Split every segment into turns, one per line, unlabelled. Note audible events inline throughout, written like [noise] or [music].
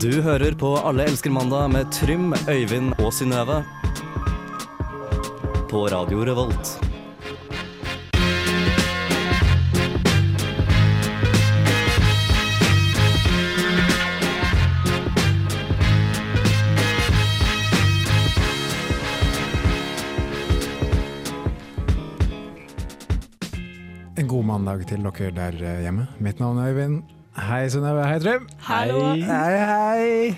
Du hører på Alle elsker mandag med Trym, Øyvind og Synnøve. På Radio Revolt.
En god mandag til dere der eh, hjemme. Mitt navn er Øyvind. Hei, Synnøve. Hei, Trym.
Hallo.
Hei, hei.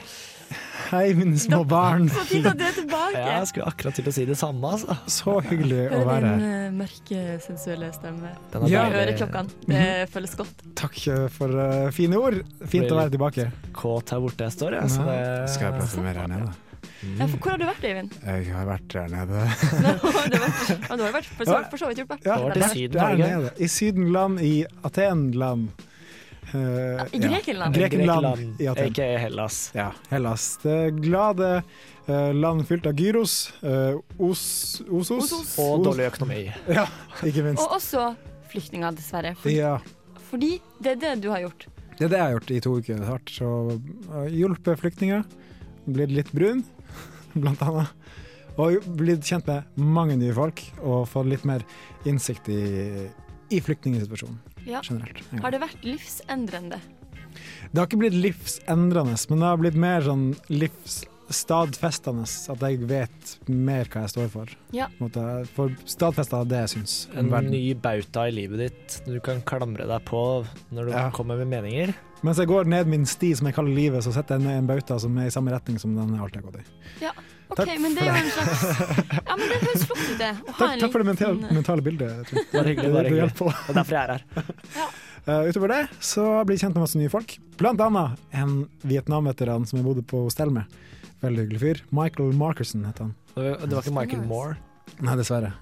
Hei, mine små barn.
Så fint at du er tilbake.
Ja, jeg skulle akkurat til å si det samme, altså.
Så hyggelig å
Hører
være
din
her.
eh, mørke, sensuelle stemme.
Den
Ja. Mhm.
I
deilig.
øreklokkene. Det føles godt.
Takk eh, for eh, fine ord. Fint å være tilbake.
Kåt her borte jeg står, jeg. Så det...
Ja. Skal jeg prate mer her nede? Mhm.
Ja, for hvor har du vært, Øyvind? [laughs]
Jeg har vært her nede.
Nå har du vært, ja, du har jo vært for, så, for så vidt gjort det.
Ja,
Du har vært i
vært
Syden,
der
har du ikke?
nede. I Sydenland, i Atenland. Eh,
Ah, I
ja.
Grekenland.
Grek- Grekenland i Aten.
Ikke Hellas.
Ja, Hellas. Det glade eh, land fylt av gyros, eh, os, osos
Osos.
Og dårlig økonomi.
Ja, ikke minst.
Og også flyktninger, dessverre. For,
Ja.
Fordi det er det du har gjort.
Det er det jeg har gjort i to uker. Det har vært så uh, Hjulpet flyktninger, blitt litt brun, [laughs] blant annet. Og blitt kjent med mange nye folk, og fått litt mer innsikt i, i flyktningsituasjonen
Ja.
generelt.
Har det vært livsendrende?
Det har ikke blitt livsendrende, men det har blitt mer sånn livsstadfestende. At jeg vet mer hva jeg står for.
Ja.
På en måte. Jeg får stadfesta det jeg syns om
En
verden.
ny bauta i livet ditt du kan klamre deg på når du
Ja.
kommer med meninger.
Mens jeg går ned min sti som jeg kaller livet, så setter jeg ned en bauta som er i samme retning som den jeg alltid har gått i.
OK,
Takk
men det
for
er jo en slags [laughs] Ja, men det høres flott
[laughs]
ut, det. Å ha
Takk,
en
takk for det Mm.
liten-
mentale, mentale bildet. Trym.
Bare
[laughs]
hyggelig,
Det-
bare
det
hyggelig.
hjelper også.
Det er derfor jeg er her.
Eh, utover det så blir jeg kjent med masse nye folk, blant annet en Vietnam-veteran som jeg bodde på hostell med. Veldig hyggelig fyr. Michael Markerson heter han.
Og Det var ikke Michael
Nice.
Moore.
Nei, dessverre.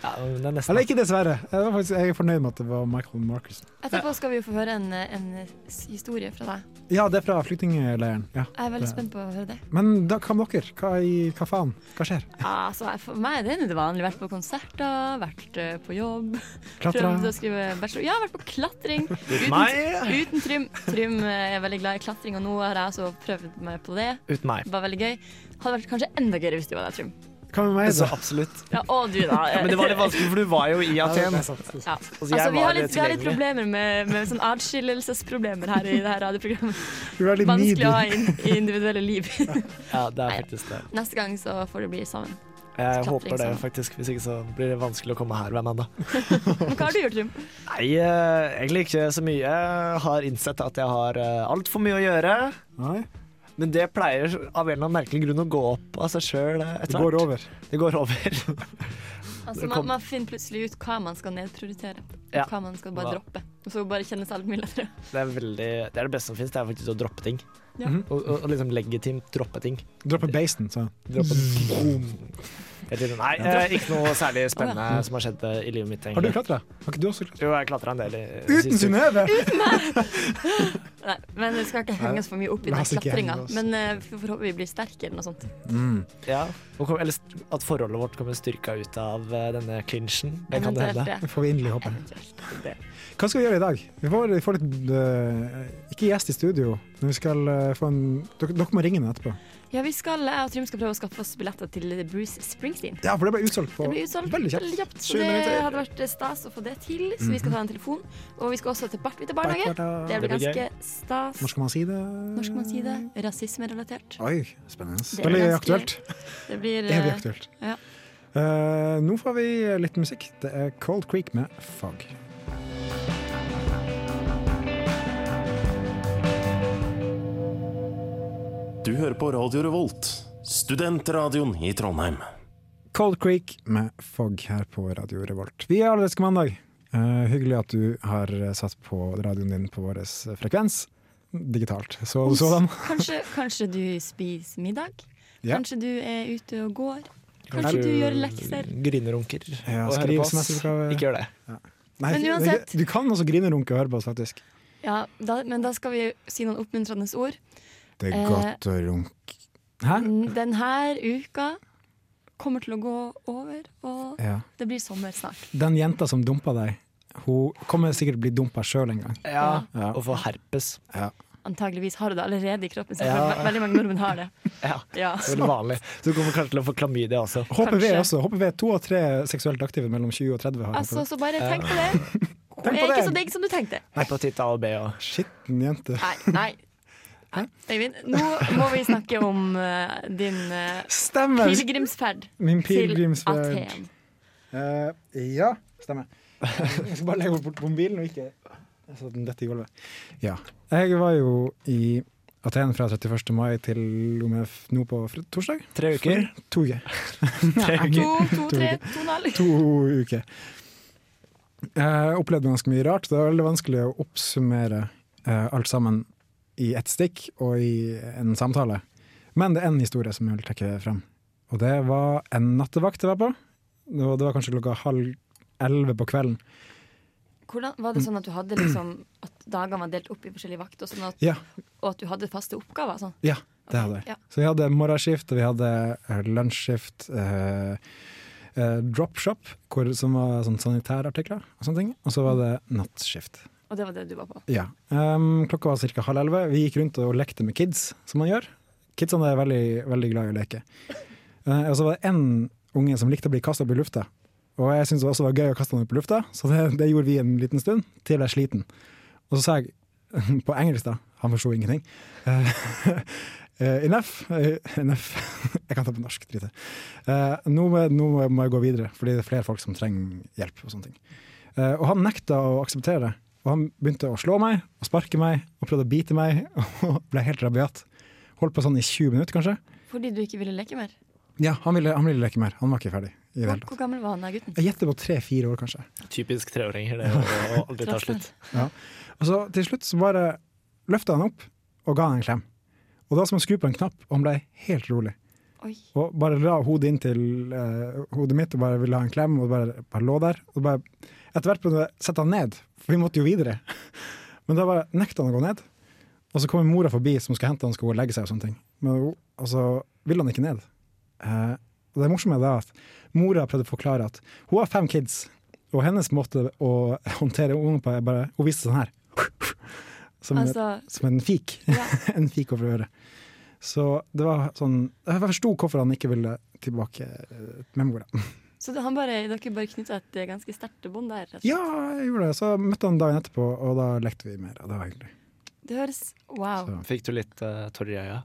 Ja, men det er nesten
Eller ikke dessverre, jeg, var faktisk, jeg er fornøyd med at det var Michael Markerson.
Etterpå skal vi jo få høre en, en s- historie fra deg.
Ja, det er fra flyktningleiren. Ja.
Jeg er veldig
Det-
spent på å høre det.
Men da, hva med dere? Hva, i, hva faen? Hva skjer?
Altså, jeg- for meg er det det vanlige. Vært på konserter, vært eh, på jobb. Prøvd å
Klatra?
skrive bachelor. Ja, vært på klatring.
Uten meg!
Uten Trym. Trym eh, er veldig glad i klatring, og nå har jeg også prøvd meg på det.
Uten meg.
Det var veldig gøy. Hadde vært kanskje enda gøyere hvis du var der, Trym.
Hva med meg?
Så
Da?
absolutt.
Ja, og du, da.
Men det var litt vanskelig, for du var jo i Aten.
Ja, det er sant.
Ja.
Altså,
Altså,
jeg
vi, har
var
litt, vi har litt
tilgjengelig.
problemer med, med sånn atskillelsesproblemer her i det her radioprogrammet.
Du er litt
Vanskelig å ha
needy.
inn, i individuelle liv. [laughs]
Ja, det er faktisk det.
Neste gang så får det bli sammen.
Jeg
Klapper
håper det,
liksom.
faktisk. Hvis ikke så blir det vanskelig å komme her hver mandag.
Men hva har du gjort, Trym?
Nei, eh, egentlig ikke så mye. Jeg har innsett at jeg har eh, altfor mye å gjøre.
Nei,
Men det pleier av en eller annen merkelig grunn å gå opp av seg sjøl
det
etter
går
hvert.
over.
Det går over. [laughs]
Altså, man,
Kom.
man finner plutselig ut hva man skal nedprioritere.
Ja.
Hva man skal bare
Hva-
droppe. Og så bare kjenne seg litt mye lettere.
Det er, veldig, det er det beste som fins, det er faktisk å droppe ting.
Ja.
Mhm. Og, og, og liksom legitimt droppe ting.
Dropper basen, sånn.
Droppe Helt til- Nei, eh, ikke noe særlig spennende som har skjedd eh, i livet mitt,
Har du
egentlig.
klatra? Har ikke du også klatra?
Jo, jeg klatra en del i
Uten
siste-
Synnøve!
Nei, men vi skal ikke henge oss for mye opp i
La
den
oss altså, ikke
klatringa.
henge oss.
Men eh, vi får håpe vi blir sterke eller noe sånt.
Mm.
Ja. Og kom, eller st- at forholdet vårt kommer styrka ut av eh, denne clinchen. Det kan det
Eventuelt
hende.
Det får vi inderlig håpe.
Eventuelt.
Hva skal vi gjøre i dag? Vi får, vi får litt eh, Ikke gjest i studio, men vi skal eh, få en Dere, dere må ringe henne etterpå.
Ja, vi skal, jeg og Trym skal prøve å skaffe oss billetter til Bruce Springsteen.
Ja, for det ble utsolgt på
Det blir utsolgt
veldig kjapt. Mhm.
veldig kjapt,
Sju
så det
minutter.
hadde vært eh, stas å få det til. Så vi skal ta en telefon. Og vi skal også til Bartvite barnehage. Det
Når
blir
Det blir
ganske stas.
skal man si det?
Når skal man si det? Rasismerelatert.
Oi, spennende.
Det er
Veldig
ganske-
aktuelt.
Det blir eh,
Evig aktuelt.
ja.
Eh, nå får vi litt musikk. Det er Cold Creek med Fog.
Du hører på Radio Revolt, studentradioen i Trondheim.
Cold Creek med Fog her på Radio Revolt. Vi er Allerske mandag. Eh, hyggelig at du har eh, satt på radioen din på vår frekvens. Digitalt. Så du sådan?
Kanskje, kanskje du spiser middag?
Ja.
Kanskje du er ute og går? Kanskje du gjør lekser?
Grinrunker.
Ja,
og hører
skriv
på oss.
semesteroppgave.
Ikke gjør det.
Nei,
Men
det-
uansett-
Du kan også grine, runke og høre på oss, faktisk.
Ja, da, men da skal vi si noen oppmuntrende ord.
Det
er godt
å runke Hæ?
Denne uka kommer til å gå over, og
Ja.
det blir sommer snart.
Den jenta som dumpa deg, hun kommer sikkert bli dumpa sjøl en gang.
Ja.
Ja.
Og få herpes.
antageligvis har du det allerede i kroppen. Så
Ja.
ve- Veldig mange nordmenn har det.
Ja,
Ja.
det er veldig vanlig. Så du kommer kanskje til å få klamydia også.
HPV
Kanskje.
også. HPV to av tre seksuelt aktive mellom 20 og 30 har
Altså,
altså,
så bare tenk på det. Det
Tenk
er
på
ikke så
det!
digg som du tenkte.
Nei, på titta og B og
Skitten jente.
Nei, nei. Nei, Øyvind, nå må vi snakke om eh, din eh,
Stemmer!
pilegrimsferd
Min
til
pilegrimsferd.
Aten.
[laughs]
Eh, ja, stemmer. Jeg skal bare legge bort på mobilen og ikke så den detter i gulvet. Ja. Jeg var jo i Aten fra 31. mai til om jeg f- nå på fr- torsdag.
Tre uker.
For To uker.
Tre
To,
uker.
to, tre, to, null.
To uker. Jeg opplevde ganske mye rart. Det er veldig vanskelig å oppsummere eh, alt sammen i ett stikk og i en samtale. Men det er én historie som jeg vil trekke frem. Og det var en nattevakt jeg var på. Og det var kanskje klokka halv elleve på kvelden.
Hvordan, var det sånn at du hadde liksom At dagene var delt opp i forskjellige vakter, og sånn at,
Ja,
og at du hadde faste oppgaver? Sånn.
ja det hadde jeg.
Ja.
Så vi hadde morgenskift, og vi hadde eh, lunsjskift, eh, eh, dropshop, hvor, som var sånn sanitærartikler og sånne ting. Og så var det nattskift.
Og det var det du var på?
Ja. Ehm, klokka var ca. halv elleve. Vi gikk rundt og lekte med kids, som man gjør. Kidsene er veldig, veldig glad i å leke. Eh, og så var det én unge som likte å bli kasta opp i lufta. Og jeg syntes det også var gøy å kaste han opp i lufta, så det, det gjorde vi en liten stund, til jeg er sliten. Og så sa jeg [laughs] på engelsk, da, han forsto ingenting Eh, [laughs] eh, Enough. eh, enough. [laughs] jeg kan ta på norsk, drit i det. Eh, nå, må jeg- nå må jeg gå videre, fordi det er flere folk som trenger hjelp. og sånne ting. Eh, og han nekta å akseptere det. Og han begynte å slå meg og sparke meg og prøvde å bite meg [laughs] og ble helt rabiat. Holdt på sånn i 20 minutter, kanskje.
Fordi du ikke ville leke mer?
Ja, Han ville, han ville leke mer. Han var ikke ferdig. i det hele
Hvor,
tatt.
hvor gammel var han der gutten?
Jeg gjetter på tre-fire år, kanskje.
Typisk treåringer, det å aldri ta slutt.
Og så til slutt så bare løfta han opp og ga han en klem. Og det var som å skru på en knapp, og han ble helt rolig.
Oi.
Og bare la hodet inn til eh, hodet mitt og bare ville ha en klem, og bare, bare lå der. Og bare, etter hvert ble det sette han ned, for vi måtte jo videre. [laughs] Men da bare nekta han å gå ned. Og så kommer mora forbi som skal hente han skal gå og legge seg, og sånne ting. Men hun- og så vil han ikke ned. Eh, og det morsomme er da at mora prøvde å forklare at hun har fem kids, og hennes måte å [laughs] håndtere ungene på er bare Hun viste sånn her. [laughs] Som,
Altså,
som en fik
ja.
[laughs] en fik over øret. Så det var sånn Jeg forsto hvorfor han ikke ville tilbake eh, med mora.
Så det- han bare, dere bare knytta et eh, ganske sterkt bånd der? rett og slett.
Ja, jeg gjorde det. Så møtte han dagen etterpå, og da lekte vi mer. Og det var hyggelig.
Det høres Wow.
Så.
Fikk du litt uh, tårer i øya?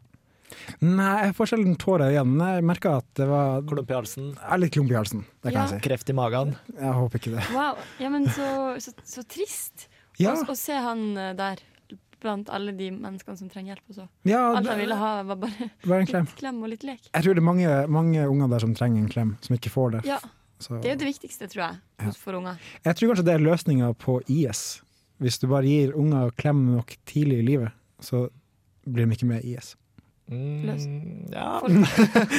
Nei, jeg får sjelden tårer igjen, men jeg merka at det var
Klump i halsen?
jeg er litt klump i halsen. Det kan jeg si.
Kreft i magen?
Jeg håper ikke
[laughs]
det.
wow. Ja, men så, så, så trist
Ja,
å, å se han eh, der blant alle de menneskene som trenger hjelp. Og så.
ja
Alt han ville
det
altså, ha, var bare [laughs]
var en klem.
litt klem og litt lek.
Jeg tror det er mange, mange unger der som trenger en klem, som ikke får det.
Ja,
Så.
Det er jo det viktigste, tror jeg,
Ja.
for unger.
Jeg tror kanskje det er løsninga på IS. Hvis du bare gir unger klem nok tidlig i livet, så blir de ikke med i IS.
Mm, ja,
Folk,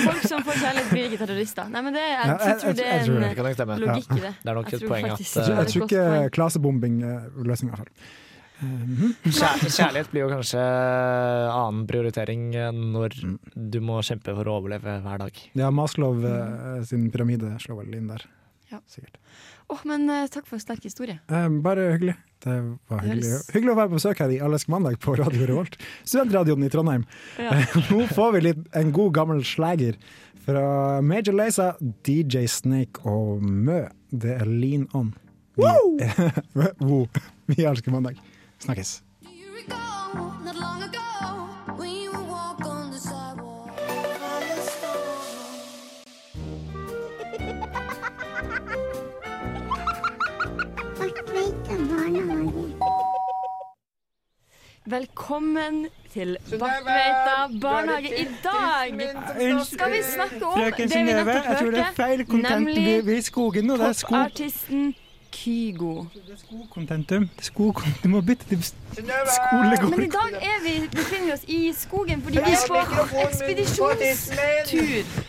folk som får kjærlighet, blir ikke terrorister. Nei, men det, er- jeg,
Ja, jeg-
tror det
jeg- jeg
er
tror
en
det.
det kan nok
eh,
stemme.
logikk i det.
Det er nok
Jeg
et
tror
poeng at
faktisk-
eh,
Jeg tror- jeg tror
Godt
ikke
poeng.
klasebombing er løsninga, i hvert fall.
kjær- kjærlighet blir jo kanskje eh, annen prioritering eh, når du må kjempe for å overleve hver dag.
Ja, Maslow eh, sin pyramide slår vel inn der.
Mm. Ja.
Sikkert.
Åh, men eh, takk for en sterk historie.
Eh, bare hyggelig. Det var
Det
hyggelig.
høres-
hyggelig å være på besøk her i Allesk mandag på Radio Revolt, studentradioen i Trondheim.
Ja.
[laughs] Nå får vi litt en god gammel slager fra Major Lazer, DJ Snake og Mø. Det er Lean On. [laughs] Wow! wow. Vi elsker mandag. Snakkes.
Do you recall not long ago when you would walk on the sidewalk? by the stone?
Velkommen til Bakkveita barnehage. I dag skal vi snakke om det vi nettopp hørte, nemlig
er i skogen nå.
popartisten Kygo.
Skokontentum. Skokon- Du må bytte til skolegård.
Men i dag er vi, befinner vi oss i skogen fordi vi er på ekspedisjonstur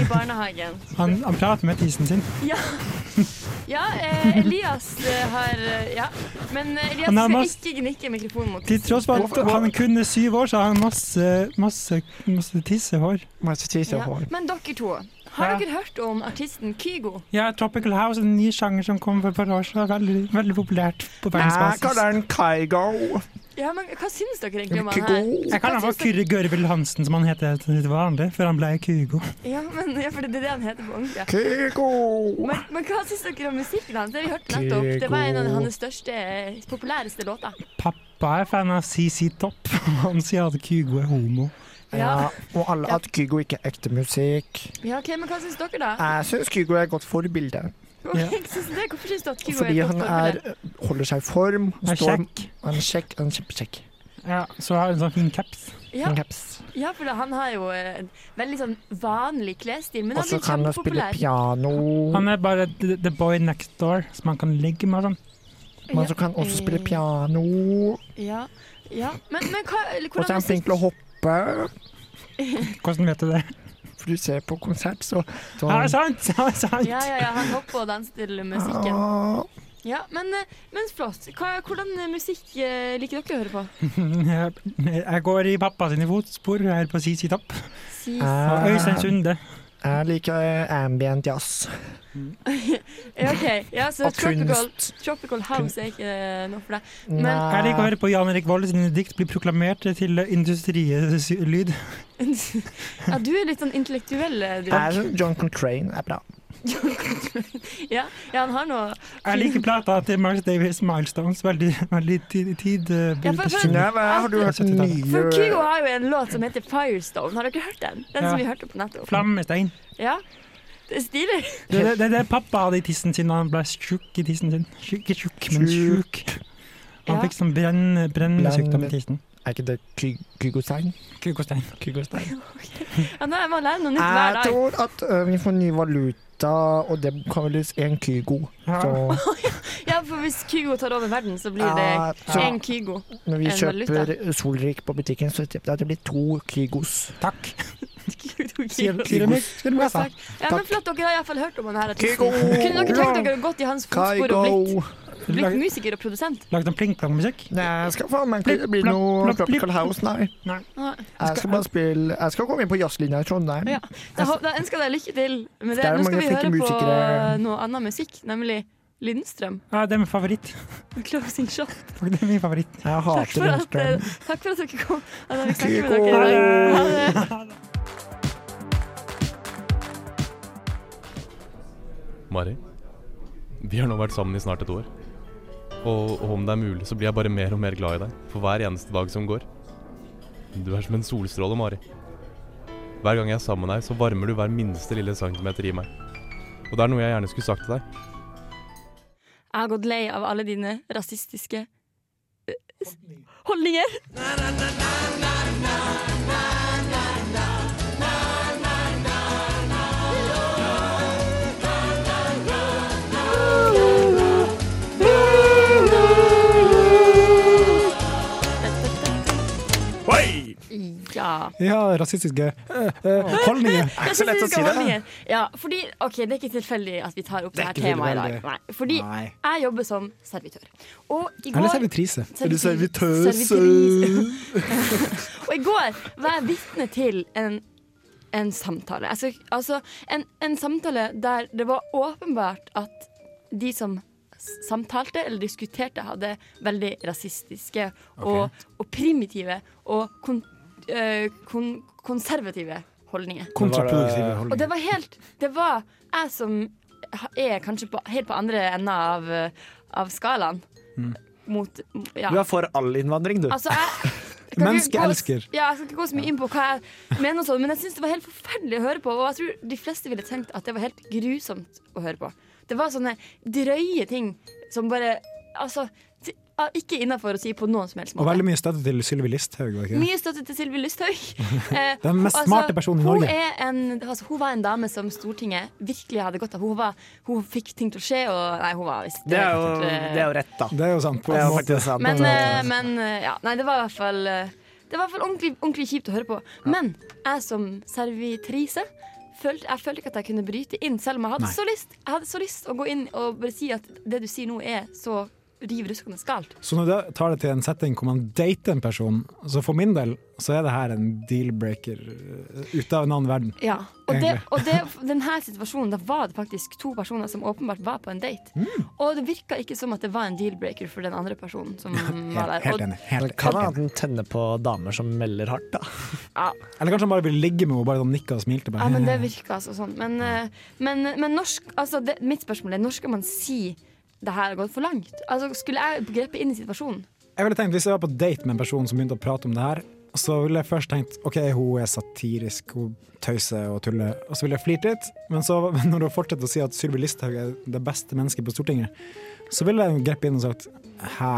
i barnehagen.
Han, han prater med tissen sin.
Ja, ja eh, Elias eh, har eh, Ja. Men eh, Elias
Han har
skal
masse-
ikke gnikke mikrofonen mot
Til tross for at han kun er syv år, så har han masse, masse, masse tissehår.
Ja. Men dere to, har
Ja.
dere hørt om artisten Kygo?
Ja, Tropical House er en ny sjanger som kom for et par år siden. Veldig, veldig populært på verdensbasis.
den Kygo.
Ja, men hva syns dere egentlig om han her?
Jeg kaller han for Kyrre Gørvel Hansen, som han heter til vanlig, før han ble Kygo.
Ja, men, ja, for det er det han heter på ordentlig.
Kygo!
Men, men hva syns dere om musikken hans? Det har vi hørte nettopp. Det var en av hans største, eh, populæreste låter.
Pappa er fan av CC Topp. [laughs] Han sier at Kygo er homo.
Ja.
og alle at Kygo ikke er ekte musikk.
Ja, ok, men hva syns dere, da?
Jeg syns Kygo er et godt forbilde.
[laughs] Ok,
Ja.
syns dere det? Hvorfor syns dere at Kygo
Fordi
er et
han
godt
er,
forbilde?
holder seg i form.
Han er
står-
kjekk.
Han er kjekk. Han er kjempekjekk.
Ja, så har han en sånn fin caps.
Ja,
En caps.
ja, for han har jo en veldig sånn vanlig klesstil, men
Og
han
så
blir
kan han spille
kjempepopulær.
piano.
Han er bare the the boy next door, som han kan ligge med og sånn.
Men så kan han også
Mm.
spille piano.
Ja, ja. Men, men hva, eller
Og så er
hvordan
han flink til å hoppe.
Hvordan vet du det?
For du ser på konsert, så, så
Er det sant? Er det sant?
Ja, ja, ja, han hopper og danser til musikken.
Ah,
Ja, men, eh, men flott. Hva, hvordan eh, musikk eh, liker dere å høre på?
Jeg [laughs] jeg går i pappa sine fotspor her på CC Topp.
Si.
Og Øystein
jeg,
Sunde.
jeg liker ambient jazz.
[laughs] Ja, OK. Ja, så
Og
tropical,
kunst.
tropical House er ikke eh, noe for deg. [laughs] Men-
Jeg liker å
Nei,
høre på Jan Erik Vold sine dikt bli proklamert til industrilyd.
Ja, du er litt sånn intellektuell. eh, Du.
jeg
[laughs]
syns John Contrain er bra.
Ja, ja, han har noe
Jeg liker plata til Miles Davis Milestones. Veldig, veldig tid... tid eh,
Ja, for- for-
personlig.
Synnøve, har du hørt den
For Kygo
nye
har jo en låt som heter Firestone. Har dere hørt den? Den som
Ja.
vi hørte på nettopp.
Flammestein.
Ja. Det er stilig.
Det er det, det, er det pappa hadde i tissen sin da han ble tjukk i tissen sin. Tjukk- Ikke tjukk, men
Tjukk.
tjukk. Han
Ja.
fikk sånn brenn, brennesykdom
Brenn-
i tissen.
Er ikke det Ky- Kygo-stein?
Kukostein.
Ja, nå er man lærer noe nytt hver
Jeg
dag.
tror at ø, vi får ny valuta, og det kan vel lyse én Kygo.
Ja. [laughs]
Så
Ja, for hvis Kygo tar over verden, så blir
Ja,
det
så-
én Kygo. [laughs]
når vi
En
kjøper Solrik på butikken, så tipper jeg at det blir to Kygos.
Takk.
Kygo.
Sier sier du meg? Sier du meg? sa?
Ja, men
Takk.
flott, dere har iallfall hørt om han her. artisten.
Kygo!
[laughs] Kunne dere tenkt dere gått i hans fotspor og blitt,
Kygo!
blitt musiker og produsent?
Lagde han pling-plong-musikk?
Nei, jeg skal faen meg ikke bli
Blipp,
noe
blapp, blapp,
Tropical
blipp.
House, nei.
Nei.
Nei.
Jeg skal bare spille Jeg skal komme inn på jazzlinja i Trondheim.
Ja. Da, hå- da ønsker jeg deg lykke til med det.
Det er
Nå skal
mange
vi
flinke
høre på
musikere.
noe annen musikk, nemlig Lindstrøm.
Ja, det er min favoritt.
'Closing Shot'.
Det er min favoritt.
Jeg
Takk
hater
for at, eh,
Lindstrøm.
takk for at dere kom. At jeg fikk snakke med
Kygo!
dere i dag. Ha det.
Mari, vi har nå vært sammen i snart et år. Og, og om det er mulig, så blir jeg bare mer og mer glad i deg for hver eneste dag som går. Du er som en solstråle, Mari. Hver gang jeg er sammen med deg, så varmer du hver minste lille centimeter i meg. Og det er noe jeg gjerne skulle sagt til deg.
Jeg har gått lei av alle dine rasistiske eh, s- holdninger. Ja.
Ja, rasistiske eh, eh, holdninger.
[laughs]
så lett å si det.
Holdninger. Ja, fordi, ok, Det er ikke tilfeldig at vi tar opp det, her
ikke
temaet i
tilfeldig.
dag. Nei, fordi
Nei.
jeg jobber som servitør. Og i går
Eller servitrise.
Er du servitøs? Servitris. [laughs] og i går var jeg vitne til en, en samtale. Altså, altså en, en samtale der det var åpenbart at de som s- samtalte eller diskuterte, hadde veldig rasistiske og, og primitive og kon, eh, kon, konservative holdninger.
eh, Kontraproduktive
Og
holdninger.
det var helt Det var jeg som ha- er kanskje på, helt på andre enden av, eh, av skalaen.
Mm.
Mot ja.
er for all innvandring, du.
Altså, jeg jeg kan ikke gå-
Menneskeelsker.
Ja, jeg skal ikke gå så mye inn på hva jeg mener, og sånn, men jeg syns det var helt forferdelig å høre på. Og jeg tror de fleste ville tenkt at det var helt grusomt å høre på. Det var sånne drøye ting som bare Altså, ti- ah, ikke innafor å si på noen som helst
Og veldig
måte.
mye støtte til Sylvi Listhaug. var det ikke det?
Mye støtte til Sylvi Lysthaug.
[laughs]
Eh,
Den mest
altså,
smarte personen i
Hun,
Norge.
er en, altså, hun var en dame som Stortinget virkelig hadde godt av. Hun, var, hun fikk ting til å skje, og Nei, hun var visst
Det er jo,
helt, eh,
det er jo rett, da.
Det er jo sant. På
Det er
en
jo
måte.
faktisk sant.
Men, eh, men eh, ja, nei, det var i hvert fall eh, Det var i hvert fall ordentlig, ordentlig kjipt å høre på. Men jeg som servitrise følte, jeg følte ikke at jeg kunne bryte inn, selv om jeg hadde så lyst. Jeg hadde så lyst å gå inn og bare si at det du sier nå, er så riv ruskende galt.
Så når du tar det til en setting hvor man dater en person, så for min del så er det her en deal-breaker eh, ut av en annen verden.
Ja. Og, det,
Egentlig.
og det, denne situasjonen, da var det faktisk to personer som åpenbart var på en date.
Mm.
Og det virka ikke som at det var en deal-breaker for den andre personen som
Helt,
var der.
helt
Og,
enig. Helt,
Det kan
helt
være
enig.
at den tenner på damer som melder hardt, da.
ja,
Eller kanskje han bare vil ligge med henne, bare sånn nikka og smilte. Bare.
ja, men det virka altså sånn. Men, eh, men, men norsk altså det, Mitt spørsmål er når skal man si det her har gått for langt? Altså, skulle jeg grepet inn i situasjonen?
Jeg ville tenkt, Hvis jeg var på date med en person som begynte å prate om det her, så ville jeg først tenkt OK, hun er satirisk, hun tøyser og tuller. Og så ville jeg flirt litt. Men så, [laughs] men når hun fortsetter å si at Sylvi Listhaug er det beste mennesket på Stortinget, så ville jeg greppe inn og sagt hæ,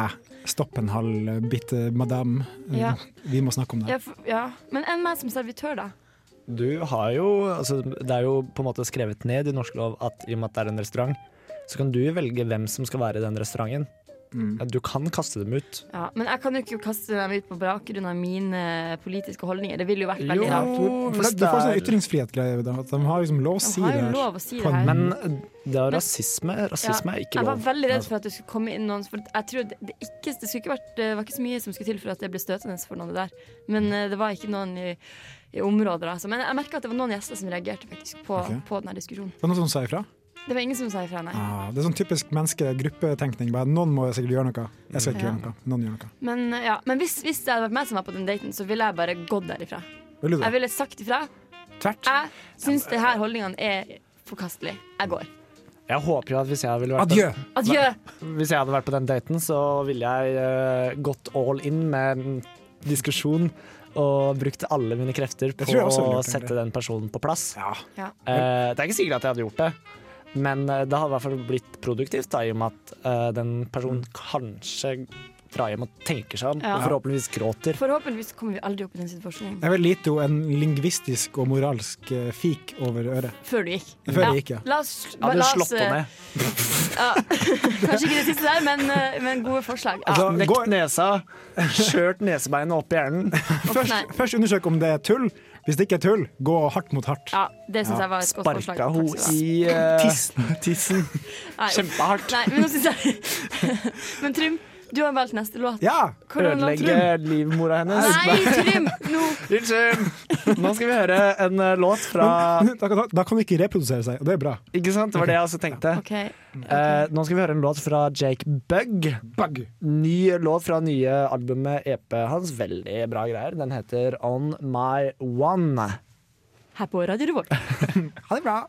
stopp en halv bitte madam,
Ja.
vi må snakke om det.
Ja, for, ja. Men enn meg som servitør, da?
Du har jo altså, Det er jo på en måte skrevet ned i norsk lov at i og med at det er en restaurant, så kan du velge hvem som skal være i den restauranten.
Mm.
Ja, Du kan kaste dem ut.
Ja, men jeg kan jo ikke kaste dem ut på bakgrunn av mine eh, politiske holdninger. Det ville jo vært veldig
Jo,
rart.
For- for
hvis
det-
det
Du får sånn
er-
ytringsfrihet-greie. da, at De har liksom lov å si
De
det
har jo
her.
lov å si
på
det
en-
her.
Men det er rasisme. Rasisme er ikke
jeg var
lov.
veldig
Altså.
redd for at det skulle komme inn noen For jeg tror det, det, ikke, det, skulle ikke vært, det var ikke så mye som skulle til for at det ble støtende for noen der. Men eh, det var ikke noen i, i områder. Altså. Men jeg merka at det var noen gjester som reagerte faktisk på,
Ok.
på denne diskusjonen.
Det er noen som sa ifra?
Det var ingen som sa ifra, nei.
Ah, det er sånn typisk menneske-gruppetenkning. Bare noen må sikkert gjøre noe. Jeg skal ikke
Ja.
gjøre noe. Noen gjør noe.
Men, eh, ja. Men hvis, hvis det hadde vært meg som var på den daten, så ville jeg bare gått derifra.
Vil du det?
Jeg ville sagt ifra.
Tvert.
Jeg syns det her holdningene er forkastelige. Jeg går.
Jeg håper jo at hvis jeg, ville vært
Adjø!
Adjø!
På, hvis jeg hadde vært på den daten, så ville jeg eh, gått all in med en diskusjon og brukt alle mine krefter på
tror jeg også ville
å
gjort, egentlig.
sette den personen på plass.
Ja.
Ja.
Eh, det er ikke sikkert at jeg hadde gjort det, men eh, det hadde i hvert fall blitt produktivt, da, i og med at eh, den personen kanskje drar hjem og tenker seg om,
Mm. Ja.
og forhåpentligvis gråter.
Forhåpentligvis kommer vi aldri opp i den situasjonen
Jeg vil lite jo en lingvistisk og moralsk eh, fik over øret.
før du gikk.
Før jeg gikk, ja.
La oss,
Jeg
la
hadde
oss- eh,
slått henne ned.
Ja. [laughs] Kanskje ikke det siste der, men, eh, men gode forslag. Ja.
Altså,
Knekt
gå,
nesa, [laughs] skjørt nesebeinet opp i hjernen.
Uff, nei.
først undersøk om det er tull. Hvis det ikke er tull, gå hardt mot hardt.
ja det syns jeg var et godt forslag.
Sparka
Takk
hun
skal du ha.
i eh,
Tissen.
Nei, uff.
kjempehardt.
Nei, men nå syns jeg [laughs] Men Trym, du har valgt neste låt.
Ja!
Hvordan låt,
Ødelegge
Trym?
livmora hennes.
Nei, Trym! Nå
[laughs] Unnskyld! Nå skal vi høre en eh, låt fra [laughs]
Da kan, da kan de ikke reprodusere seg, og det er bra.
Ikke sant? Det var det jeg også tenkte.
OK.
Eh, nå skal vi høre en låt fra Jake Bug.
Bug.
Ny låt fra nye albumet EP hans. Veldig bra greier. Den heter On My One.
Her på Radio Revolt.
Ha det bra.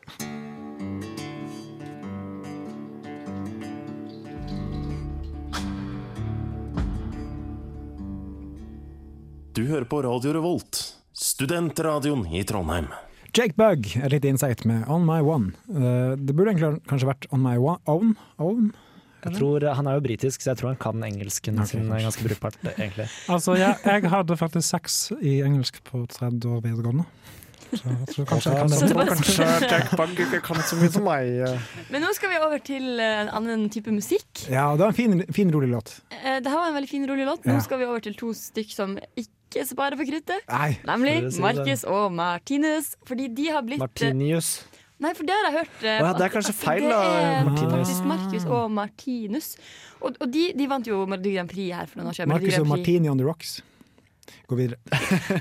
Du hører på Radio Revolt, studentradioen i Trondheim.
Jake Bug, et lite insight med On My One. Eh, det burde egentlig kanskje vært On My One Own? own?
Jeg tror, Han er jo britisk, så jeg tror han kan engelsken sin ganske brukbart. [laughs] egentlig.
Altså, jeg, jeg hadde faktisk sex i engelsk på tredje år videregående. Så jeg
[laughs]
tror kanskje jeg kan det.
sånn.
kanskje Jake Bug ikke kan så mye som meg. eh,
Men nå skal vi over til eh, en annen type musikk.
Ja, det var en fin, fin rolig låt.
Eh, Det her var en veldig fin, rolig låt. Nå
Ja.
skal vi over til to stykk som ikke sparer for kruttet.
Nei.
Skal du
Nemlig
si det?
Markus og Martinus. Fordi de har blitt
Martinius.
Nei, for det har jeg hørt. eh,
Å ja, det er
at-
kanskje
at
feil,
det
da,
er
Martinus.
faktisk Markus og Martinus. Og, og de, de vant jo Melodi Grand Prix her for noen år siden. Melodi
Marcus og
Grand Prix-
Martini on the Rocks. Gå videre.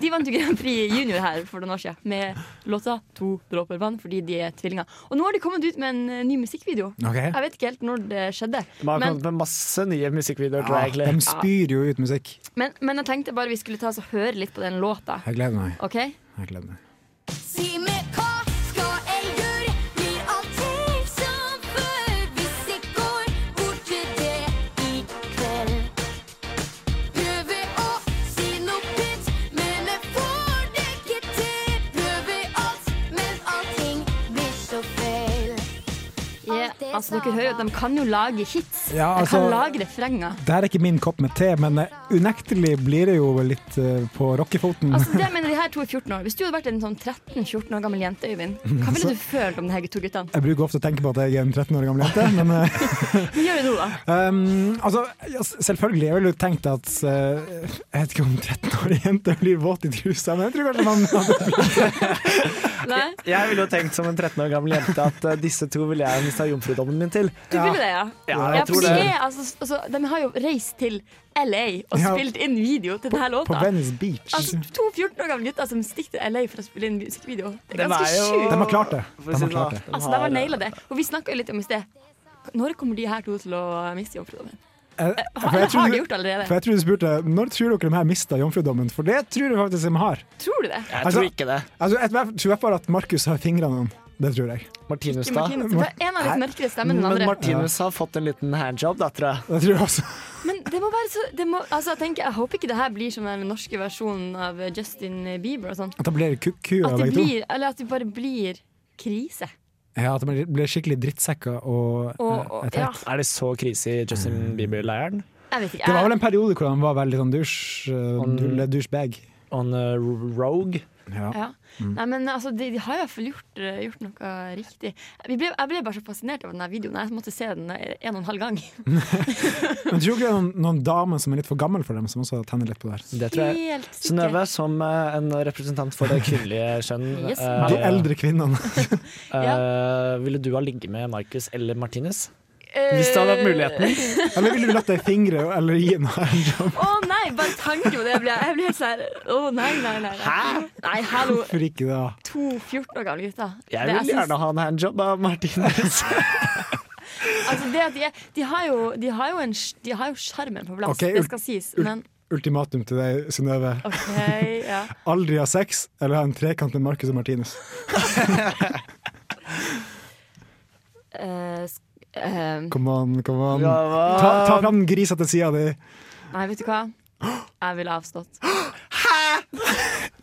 De vant jo Grand Prix Junior her for noen år siden med låta 'To dråper vann' fordi de er tvillinger. Og nå har de kommet ut med en eh, ny musikkvideo.
Ok.
Jeg vet ikke helt når det skjedde.
Man har
Men-
kommet med masse nye musikkvideoer. tror
Ja,
jeg, egentlig.
de Ah,
Ah.
spyr jo ut musikk.
Men, men jeg tenkte bare vi skulle ta oss og høre litt på den låta.
Jeg gleder meg.
OK?
Jeg gleder meg.
Si meg hva skal jeg gjøre? Blir allting som før hvis jeg går bort til det i kveld? Prøver å si noe pent, men jeg får det ikke til. Prøver alt, men allting blir så feil.
Ja, altså, dere hører jo at de kan jo lage hits.
Ja,
de
altså-
kan lage refrenger.
Det her er ikke min kopp med te, men eh, unektelig blir det jo litt eh, på rockefoten.
Altså, det mener de her her to er 14 år. Hvis du hadde vært en sånn 13-14 år gammel jente, Øyvind, hva ville du følt om de her to guttene?
Jeg bruker ofte å tenke på at jeg er en 13 år gammel jente, men eh, [laughs]
Hva gjør du nå, da?
Um, altså, ja, s- selvfølgelig. Jeg ville jo tenkt at eh, Jeg vet ikke om 13-årige jenter blir våt i trusa, men jeg tror kanskje man
[laughs]
hadde
Nei?
Jeg ville jo tenkt som en 13 år gammel jente at eh, disse to ville jeg mista jomfrudommen min til.
Du ville det, ja?
Ja,
Ja,
jeg
for
tror
de,
det.
er, altså, altså, de har jo reist til LA og
Ja.
spilt inn video til denne
på
låta.
Venice Beach.
Altså, to 14 år gamle gutter som stikker til LA for å spille inn musikkvideo. Det er
Dem
ganske
er
de
jo-
sjukt.
har klart det.
For
De
å si
har
det da.
klart det.
Altså, de har naila det. Og vi snakka jo litt om i sted. Når kommer de her to til å miste jomfrudommen?
Eh,
Har,
For jeg
har de
tror,
gjort det allerede?
for jeg tror du spurte når tror dere de her mista jomfrudommen, for det tror jeg faktisk de har.
Tror du det?
Jeg
Altså-
tror ikke det.
Altså, jeg tror i hvert fall at Markus har fingrene om. Det tror jeg.
Martinus,
Ikke
da.
Martinus. For En har litt mørkere stemme enn den
Men
andre.
Martinus har fått en liten handjob, da, tror jeg.
Det tror jeg også.
Men det må være så det må, altså, jeg, tenker, jeg håper ikke det her blir som den norske versjonen av Justin Bieber og sånn.
At det blir kukua,
At det
begge to.
blir, eller at det bare blir krise.
Ja, at de blir skikkelig drittsekker og, eh,
Og, og
et
ja,
Er det så krise i Justin Bieber-leiren?
jeg vet ikke.
Det var vel
Jeg,
en periode hvor han var veldig sånn dusj, eh,
Han-
dule- douchebag.
On a rogue?
Ja.
ja.
Mm.
Nei, men altså, de, de har i hvert fall gjort, eh, gjort noe riktig. Vi ble, jeg ble bare så fascinert av denne videoen. Jeg måtte se den eh, en og en halv gang.
Men tror du ikke det er noen, noen damer som er litt for gammel for dem, som også tenner litt på det her?
Det tror jeg.
Helt sikkert.
Synnøve, som eh, en representant for det kvinnelige kjønn,
[laughs] Yes.
eh,
De eldre kvinnene. [laughs]
eh, ville du ha ligget med Marcus eller Martinus?
Eh,
Hvis det hadde vært muligheten.
Eller ville du latt deg fingre eller gi en handjob?
Eh, Å nei, bare tanken på det. Ble, jeg- jeg ble helt sånn her, Å nei, nei, nei. nei. Nei, hallo.
Hvorfor ikke det?
To 14 år gamle gutter.
Jeg
Det-
vil
syns-
gjerne ha en handjob av
[laughs]
Martinus.
Altså det at de, er, de har jo De har jo en sj- De har jo sjarmen på plass,
Ok,
det
ul-
skal sies,
ul-
men
Ultimatum til deg, Synnøve.
OK, ja.
Aldri ha sex eller ha en trekant med Marcus og Martinus.
Eh, sk- eh,
Come on, come on.
Ja, hva?
Ta, ta fram den grisa til sida di.
nei, vet du hva? Jeg ville avstått.
[gasps]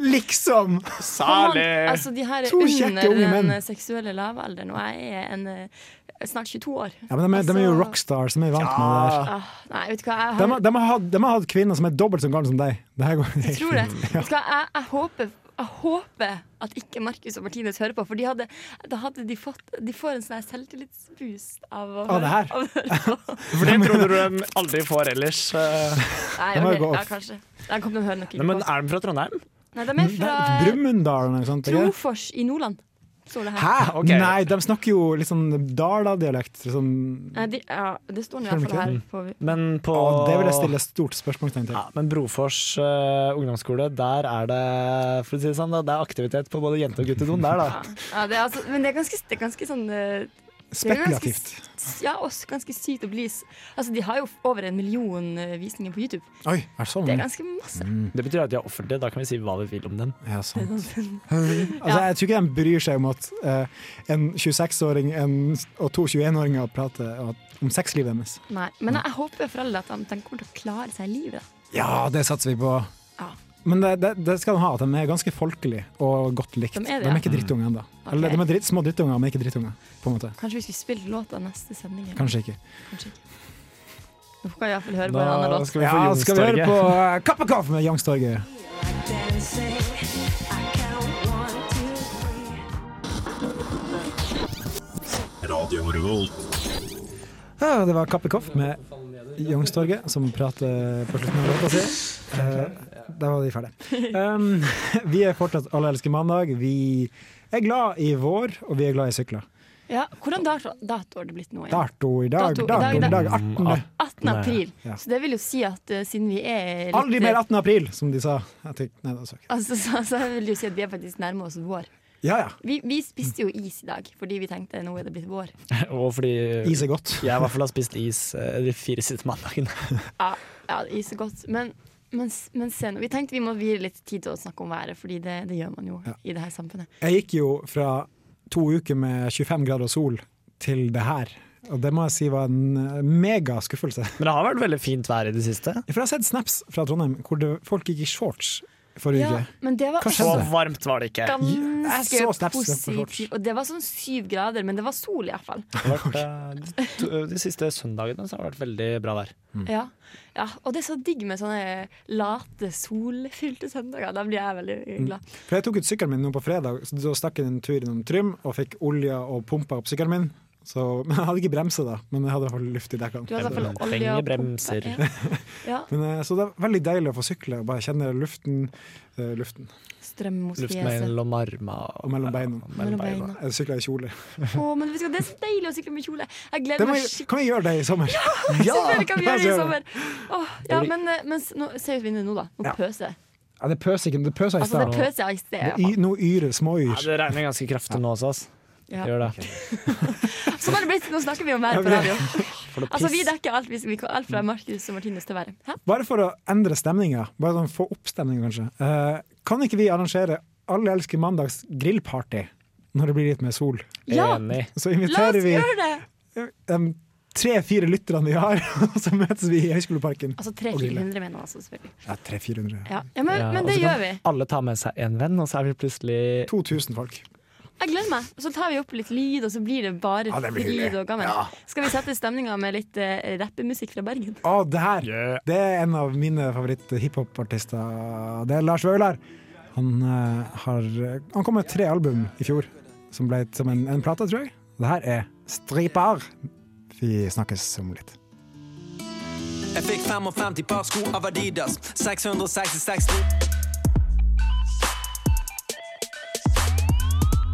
Liksom!
Kom an,
Salig!
altså, de her er
To kjekke
under
unge
den
menn.
seksuelle lavalderen, og jeg er en, eh, snart 22 år.
Ja, men de er, de er jo
Altså-
rockstars, de er vant med det der.
Ah, nei, vet du hva? Jeg,
De,
har,
har- de, har hatt, de har hatt kvinner som er dobbelt så gamle som deg. Det her går
jeg
[laughs]
tror det. Vet du hva? Jeg, jeg håper jeg håper at ikke Markus og Martinus hører på, for de hadde, da hadde de fått De får en sånn her selvtillitsboost av å
Av det her?
av å høre
[laughs]
på.
[laughs] For det tror du de aldri får ellers. eh.
Nei,
Da må
ok,
jeg gå
ja,
off.
kanskje. Der kom de og hører nok ikke
Nei,
på
men
oss.
er de fra Trondheim?
Nei, de er fra eh,
Brumunddal eller noe sånt. ikke?
Trofors i Nordland. Står det her.
Hæ? Ah, Ok.
Nei, de snakker jo litt sånn Dala-dialekt. Sånn,
Nei, de, ja, det står nå i hvert fall her. På,
Men på
og det vil jeg stille stort spørsmålstegn til.
Ja, men Brofors eh, ungdomsskole, der er det for å si det sånn, da, det er aktivitet på både jente- og guttedoen der, da.
ja, ja, det er altså, men det er ganske, det er ganske sånn eh,
Spekulativt.
Ja, også ganske sykt å bli s- Altså, de har jo over en million eh, visninger på YouTube.
Oi, er det sånn?
Mm.
Det er ganske masse.
Det betyr at de er offentlige, da kan vi si hva vi vil om dem. [laughs]
Ja,
[laughs]
sant. altså, jeg tror ikke de bryr seg om at eh, en 26-åring en- og to 21-åringer prater at- om sexlivet deres.
Nei, men jeg håper for alle at de, de kommer til å klare seg i livet.
Ja, det satser vi på.
Ja.
Men det, det, det skal de ha, at de er ganske folkelige og godt likt.
De er det,
de
ja.
er ikke drittunger ennå. Eller de er dritt, små drittunger, men ikke drittunger. På en måte.
Kanskje vi skulle spille låta neste sending? eller?
Kanskje ikke.
Kanskje ikke. Nå kan vi iallfall høre på en annen
Da
låt.
skal vi få
Ja, skal vi høre
Youngstorget.
på eh, Kappekoff med Youngstorget?
Radio Revolt.
Ja, det var Kappekoff med Youngstorget som prater på slutten av låta si. Eh, Da var de ferdige. Um, [laughs] vi er fortsatt Alle elsker mandag. Vi er glad i vår, og vi er glad i sykler.
Ja, hvordan dato, dato har det blitt nå? igjen?
Dato i dag,
Dato i
dato,
dag,
i dag.
da- Mm,
18.
18. april.
Ja.
Så det vil jo si at eh, siden vi er litt
Aldri mer 18. april, som de sa. Jeg tenk- nei, det sa jeg ikke.
Altså, så, så vil det jo si at vi er faktisk nærme oss vår.
Ja ja.
Vi, vi spiste jo is i dag fordi vi tenkte nå er det blitt vår.
Og fordi
Is er godt.
jeg i hvert fall har spist is eh, de fire siste mandagene.
Ja, ja is er godt. Men, men, s- men se nå. Vi tenkte vi må vie litt tid til å snakke om været, Fordi det, det gjør man jo
Ja.
i det her samfunnet.
Jeg gikk jo fra to uker med 25 grader og sol til det her. Og det må jeg si var en eh, mega skuffelse.
Men det har vært veldig fint vær i det siste.
For jeg har sett snaps fra Trondheim hvor det, folk gikk i shorts forrige
Ja,
uke.
men det var
Hva
også
Så
skjedde?
varmt var det ikke.
Jeg så
ganske
snapsen på shorts.
positivt. Og det var sånn syv grader, men det var sol i hvert fall.
Det har vært, eh, de to- de siste søndagene så har det vært veldig bra vær.
Mm.
Ja. ja, og det er så digg med sånne late, solfylte søndager. Da blir jeg veldig glad.
For jeg tok ut sykkelen min nå på fredag, så da stakk jeg en tur innom Trym og fikk olja og pumpa opp sykkelen min. Så, [laughs] men jeg hadde ikke bremse da, men jeg hadde i hvert fall luft i
Du
dekkene.
har i hvert fall
Man
olje
trenger
og pumpe.
bremser.
Ja. ja.
Men, eh, så det er veldig deilig å få sykle og bare kjenne luften, eh, luften
Strøm mot
Luft
fjeset.
mellom armene
og mellom beina.
Mellom beina.
Jeg sykler i kjole.
Å, men vet du hva, det er så deilig å sykle med kjole. Jeg
Det
gleder
må,
meg
jeg-
skikkelig.
kan vi gjøre det i sommer?
Ja!
Selvfølgelig kan vi gjøre det i
Ja,
sommer. Åh, ja, men, eh, men s- nå, se ut vinduet nå, da. Nå
Ja.
pøser det.
Ja, det pøser ikke, men det pøser i
Altså,
sted.
det pøser i sted. i hvert
Det y-
fall.
Nå yrer
Ja,
småyr.
det regner ganske kraftig nå også, ass.
Ja.
Gjør det.
Sånn er det blitt. Nå snakker vi om været på radio. Altså, vi dekker alt, vi, vi, alt fra Markus og Martinus til været. Hæ?
Bare for å endre stemninga, bare sånn få opp stemninga kanskje, eh, kan ikke vi arrangere Alle elsker mandags grillparty når det blir litt mer sol?
Ja,
Enig.
Så
la
inviterer
oss
vi
gjøre det!
de tre-fire lytterne vi har, [laughs] og så møtes vi i Høgskoleparken.
Altså
Og grille.
300-400 mener han altså, selvfølgelig.
Ja, 300-400.
Ja, ja, men,
Ja,
men
og
det
så
gjør
kan
vi.
Alle tar med seg en venn, og så er vi plutselig
2000 folk.
Jeg gleder meg. Så tar vi opp litt lyd, og så blir det bare
Ja, det blir hyggelig.
fryd og gammel. Skal vi sette stemninga med litt eh, rappemusikk fra Bergen?
Å, det her! Det er en av mine favoritt-hiphop-artister. Det er Lars Vaular. Han, eh, har, han kom med tre album i fjor, som ble som en, en plate, tror jeg. Det her er Striper. Vi snakkes om litt.
Jeg fikk 55 par sko av Adidas. 666 snitt.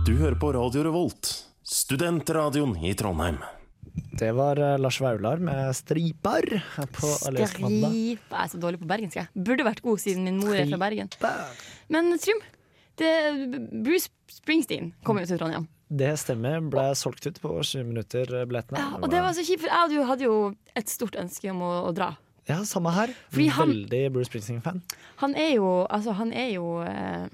Du hører på Radio Revolt, studentradioen i Trondheim.
Det var eh, Lars Vaular med 'Striper' her på Allersk mandag.
Stripe Jeg er så dårlig på bergensk, jeg. Burde vært god siden min mor er fra Bergen. Men Trym, det, Bruce Springsteen kom jo til Trondheim.
Det stemmer. Ble solgt ut på 20 minutter, eh, billettene.
Ja, og det var så kjipt, for jeg og du hadde jo et stort ønske om å, å dra.
Ja, samme her.
Fordi han-
Veldig Bruce Springsteen-fan.
Han er jo, altså, han er jo eh,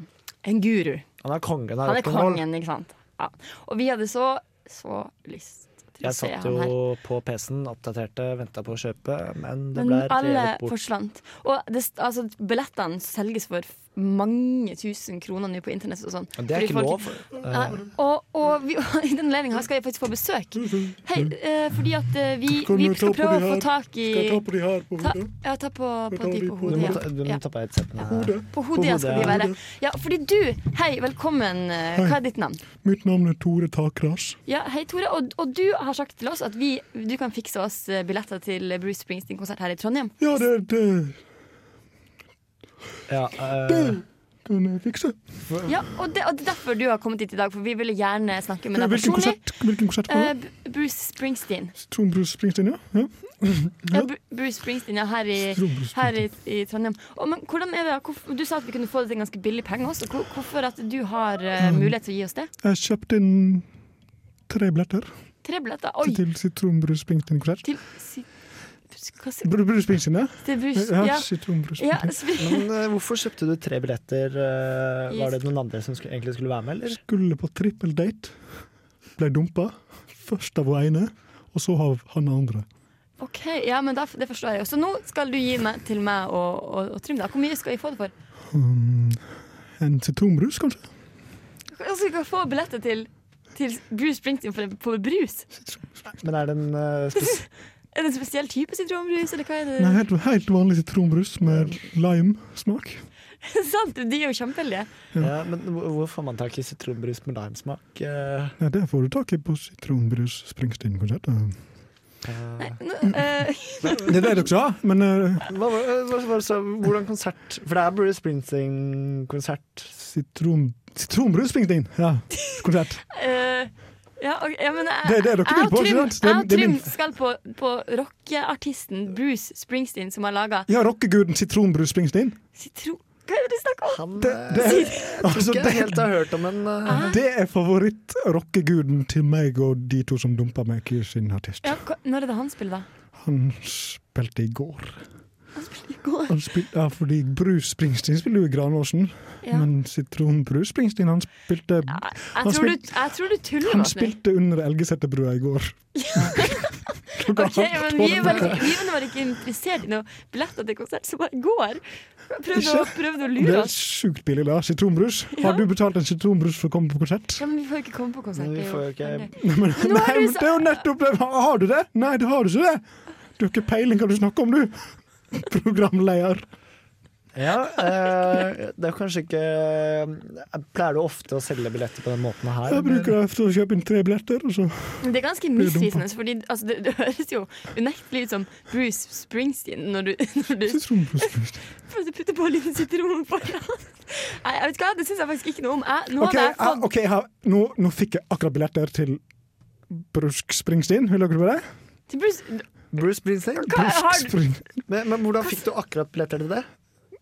en guru.
Han er kongen av
Han er
rock'n'roll.
kongen, ikke sant. Ja. Og vi hadde så, så lyst til å
Jeg
se
satt
han her.
jo på PC-en, oppdaterte, venta på å kjøpe, men det ble
Men alle
revet bort.
forsvant. Og det, st- altså, billettene selges for mange tusen kroner nå på internett. Og sånn.
Men det er
Fordi
ikke
folk-
lov. eh.
Nei, og, og vi, [laughs] i den anledninga skal jeg faktisk få besøk. Hei, eh, fordi at eh, vi, vi skal prøve å få tak i ta, Ja, ta på, på de på
Du
hodet.
må ta,
Ja.
du må
Ja.
ta på headsetene.
På hodet ja, skal de være. Ja, fordi du Hei, velkommen. eh, Hva er ditt navn?
Mitt navn er Tore Takrash.
Ja, Hei, Tore. Og, og du har sagt til oss at vi, du kan fikse oss eh, billetter til Bruce Springsteen-konsert her i Trondheim.
Ja, det, det
Ja, eh,
kan jeg fikse.
Ja, og det, og det er derfor du har kommet hit i dag, for vi ville gjerne snakke med deg
Hvilken
personlig.
konsert, hvilken konsert var
Eh,
det?
B- Bruce Springsteen.
Tom Bruce Springsteen, ja? ja.
Ja, Bru- Bruce Springsteen, ja, her i, her i, i Trondheim. Og, men hvordan er det, da? Hvorf- du sa at vi kunne få det til ganske billig penger også. Hvor, hvorfor at du har eh, mulighet til å gi oss det?
Jeg kjøpte inn tre billetter
Tre billetter. Oi!
til Sitron Bruce Springsteen-konsert.
Til si- hva si-
Bru- Bruce Springsteen, ja?
til Bruce
Ja,
Ja.
Sitron Bruce
ja
Springsteen.
sp-
men eh, hvorfor kjøpte du tre billetter? eh, var det noen andre som skulle, egentlig skulle være med, eller?
Skulle på trippel date. Ble dumpa. Først av hun ene, og så av han andre.
OK, ja, men da, det forstår jeg jo. Så nå skal du gi meg, til meg og, og, og Trym, da. Hvor mye skal vi få det for?
En sitronbrus, kanskje?
Altså, vi kan få billetter til, til Bruce Springsteen for, for brus.
Men er det en eh, spes
Er det en spesiell type sitronbrus, eller hva er det?
Nei, helt, helt vanlig sitronbrus med lime-smak.
[laughs] Sant, de er jo kjempeheldige.
[laughs] ja, men hvor hvor får man tak i sitronbrus med limesmak? Eh,
Nei, det får du tak i på Sitronbrus Springsteen-konsert. Det
Eh,
er det dere sa, men eh,
hva var- eh, hva var det så- hvordan konsert For det er Bruce Springsteen-konsert.
sitron... Sitronbrus Springsteen! Ja, konsert.
eh, ja, ok, ja, men jeg,
Det er det dere vil
jeg og
på,
Trym-
ikke sant? Det er-
jeg og
det er
Trym
min-
skal på, på rockeartisten Bruce Springsteen, som har laga
Ja, rockeguden Sitronbrus Springsteen.
sitron... Hva er det du snakker om?
Han
Det, det,
eh,
altså,
ikke
det,
helt har hørt om en eh,
det er favoritt-rockeguden til meg og de to som dumpa meg i sin artist.
Ja, hva- når er det han spiller, da?
Han spilte i går.
I går.
Han spil, ja, fordi Bruce Springsteen spiller jo i Granåsen,
Ja.
men Sitronbrus Springsteen han spilte
Jeg, jeg, tror du, jeg tror du tuller
Han
med oss nå.
spilte under Elgeseterbrua i går.
Ok, men vi er, veldig, vi er vel bare ikke interessert i noen billetter til konsert som bare går. Prøvde å,
Ikke?
prøvde å
Det
lure
er
oss.
sjukt billig, da. Sitronbrus.
Ja.
Har du betalt en sitronbrus for å komme på konsert?
Ja, men vi får jo ikke komme på konsert.
Nei, vi
det er
får jo ikke-
veldig-
Nei, men,
Men nå
nei,
har du
men
sa-
det er jo nettopp det! Har du det? Nei, det har du ikke det! Du har ikke peiling hva du [laughs] snakker om, du! Programleder.
Ja, eh, det er kanskje ikke jeg Pleier du ofte å selge billetter på den måten her?
Jeg
eller?
bruker det til å kjøpe inn tre billetter, og så
Men Det er ganske misvisende, fordi altså, det, det høres jo unektelig ut som Bruce Springsteen når du, når du prøvde å putte på litt sitron foran. Nei, jeg vet hva, det syns jeg faktisk ikke noe om. Jeg, nå
OK,
hadde
jeg,
jeg fått
ok, jeg har, nå, nå fikk jeg akkurat billetter til Brusk Springsteen. Vil dere på det?
til Bruce
Bruce Springsteen?
Hva har du-
Men, men hvordan fikk du akkurat billetter til det?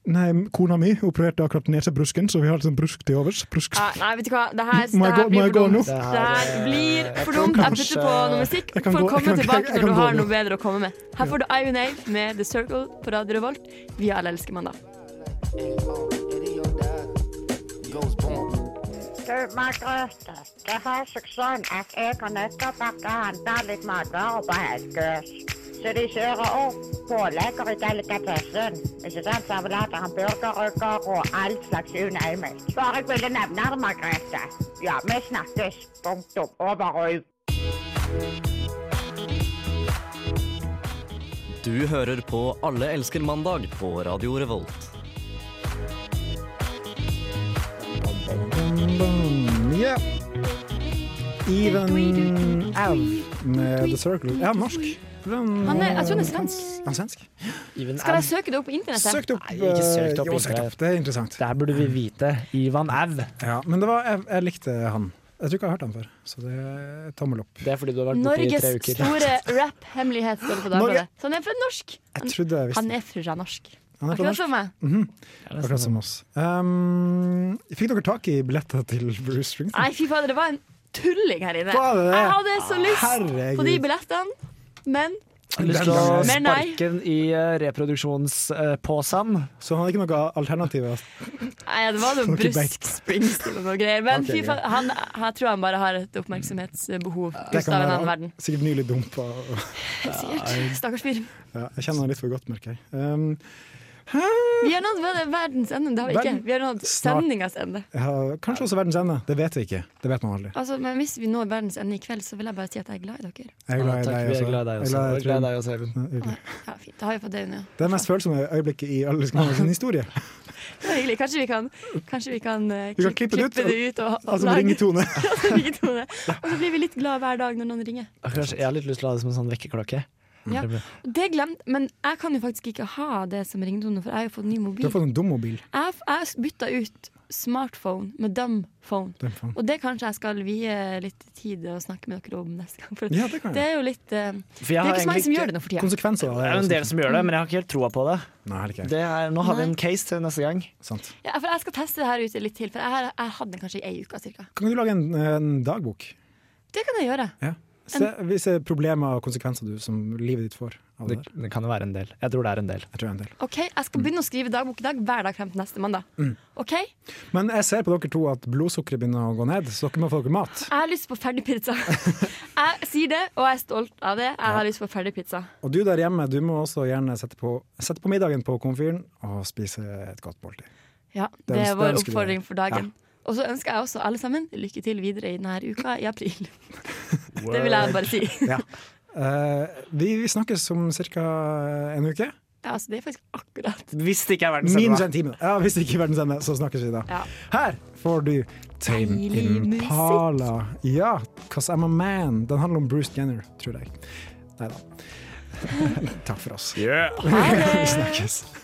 Nei, kona mi opererte akkurat nesebrusken, så vi har litt sånn brusk til overs. Brusk.
Nei, nei, vet du hva, det her,
Må
det
jeg
her
gå- må
blir
jeg
for
gå
dumt.
nå?
Det
Det
her blir
jeg
for
tror
dumt. Jeg
kanskje-
putter på noe musikk.
Jeg kan
For
gå- jeg
å komme
kan- jeg-
tilbake
jeg
når
kan gå
du har
nå.
noe bedre å komme med. Her får du Iron Ave med The Circle på Radio Revolt via LL Skimanda.
Du, Margrethe, det har seg sånn at jeg har nettopp vært og handlet litt matvarer på Helgøs. Så de kjører opp pålegger i delikatessen. Ikke sant? Servelater, hamburgerrygger og all slags you name it. Bare jeg ville nevne det, Margrethe. Ja, vi snakkes. Punktum. Over og ut.
Du hører på Alle elsker mandag på Radio Revolt.
Yeah. Even Out med The Circle. Ja, norsk.
Han er- jeg tror han er svensk.
Han er svensk?
Skal jeg søke det opp på internettet?
Søkt opp. eh,
Nei, ikke søkt opp
Jo, søkt
internett.
opp. Det er interessant.
Der burde
Mm.
vi vite. Ivan Au.
Ja, men det var, jeg, jeg likte han. Jeg tror ikke jeg har hørt han før, så det er tommel opp.
Det er fordi du har vært borte i
Norges
tre uker.
store rap-hemmelighet står det på Dagbladet.
Norge.
Så han er født norsk.
Jeg trodde jeg visste
Han er fra norsk.
Han er fra
Akkurat
norsk.
som meg.
Mhm. Akkurat som oss. Um, fikk dere tak i billetter til Bruce Springsteen?
Nei, fy fader, det var en tulling her inne.
Var det det?
Jeg hadde så lyst
Herregud.
på de billettene, men
Jeg har lyst til å
Men nei.
sparke den i eh, reproduksjonspåsen.
Så han hadde ikke noe alternativ? altså.
Nei, det var noe
Får ikke
brusk Springsteen og noe greier. Men
Ok,
fy faen, han, jeg tror han bare har et oppmerksomhetsbehov
Det
ut
kan
av en
være
annen verden.
Sikkert nylig dumpa. og-
Sikkert. Stakkars fyr.
Ja, jeg kjenner han litt for godt, merker jeg. Um,
Vi har nådd ver- verdens ende, det har vi
Verden-
ikke. Vi har nådd
Snart.
sendingas ende.
jeg har, kanskje også verdens ende. Det vet vi ikke. Det vet man aldri.
Altså, men hvis vi når verdens ende i kveld, så vil jeg bare si at jeg er glad i
Jeg
dere.
er glad i
Ja, takk,
deg
vi er
også.
glad i deg
Jeg er
også.
glad i
Vi er glad i
Trond.
deg også,
Ja, hyggelig.
Ja, fint. Da har vi fått det unna.
Det er det mest følsomme øyeblikket i alle
[laughs]
skammernes historie.
Det var hyggelig. Kanskje vi kan, kanskje vi kan, eh,
Vi kan
klipp-
klippe det ut,
klippe det ut og, og
Altså med
lage- [laughs]
ringetone.
Ja, som ringetone. Og så blir vi litt glad hver dag når noen ringer.
Kanskje, jeg har litt lyst til å ha det som en sånn vekkerklokke.
Ja.
Det blir-
Det glemte, Men jeg kan jo faktisk ikke ha det som ringetone, for jeg har jo fått ny
Du
mobil.
har fått en dum mobil.
Jeg, jeg bytta ut smartphone med dumphone.
Den faen.
Og det kanskje jeg skal vie litt tid å snakke med dere om neste gang. For
Ja, det kan jeg.
det er jo litt eh, Det
For jeg
er
har
ikke så mange
egentlig
som
ikke
gjør det nå for tida.
Konsekvenser av
Det er jo en del som gjør det, men jeg har ikke helt troa på det.
Nei, det er ikke jeg.
det er, nå har vi
Nei.
en case til neste gang.
Sant.
Ja, for jeg skal teste det her ute litt til, for jeg, har- jeg hadde den kanskje i ei uke cirka.
Kan ikke du lage en, en dagbok?
Det kan jeg gjøre.
Ja. Se, visse problemer og konsekvenser du som livet ditt får av det
Det,
der.
det kan jo være en del. Jeg tror det er en del.
Jeg tror det er en del.
Ok, Jeg skal begynne å skrive dagbok i dag hver dag frem til neste mandag.
Mm.
Ok? Jeg
Men jeg ser på dere to at blodsukkeret begynner å gå ned, så dere må få dere mat.
har lyst på [laughs] ferdigpizza. Jeg sier det, og jeg er stolt av det. Jeg har lyst på ferdigpizza.
Og du der hjemme, du må også gjerne sette på, sette på middagen på komfyren og spise et godt måltid.
Ja,
Den-
det er
den
vår
ønsker vi
oppfordring
deg.
for dagen. Og så ønsker jeg også alle sammen lykke til videre i denne uka i [laughs] april. Det vil jeg bare si.
Ja. Eh, vi, vi snakkes om ca. en uke.
Ja, altså, det er faktisk akkurat
Hvis det ikke er verdens
Minus en time. Ja, hvis ikke verdens ende, så snakkes vi da.
Ja.
Her får du Tame
Deilig musikk.
Impala. Ja, 'Cause I'm a Man. Den handler om Bruce Jenner, tror jeg. Nei da. [laughs] Takk for oss.
Ha det!
[laughs] Vi snakkes.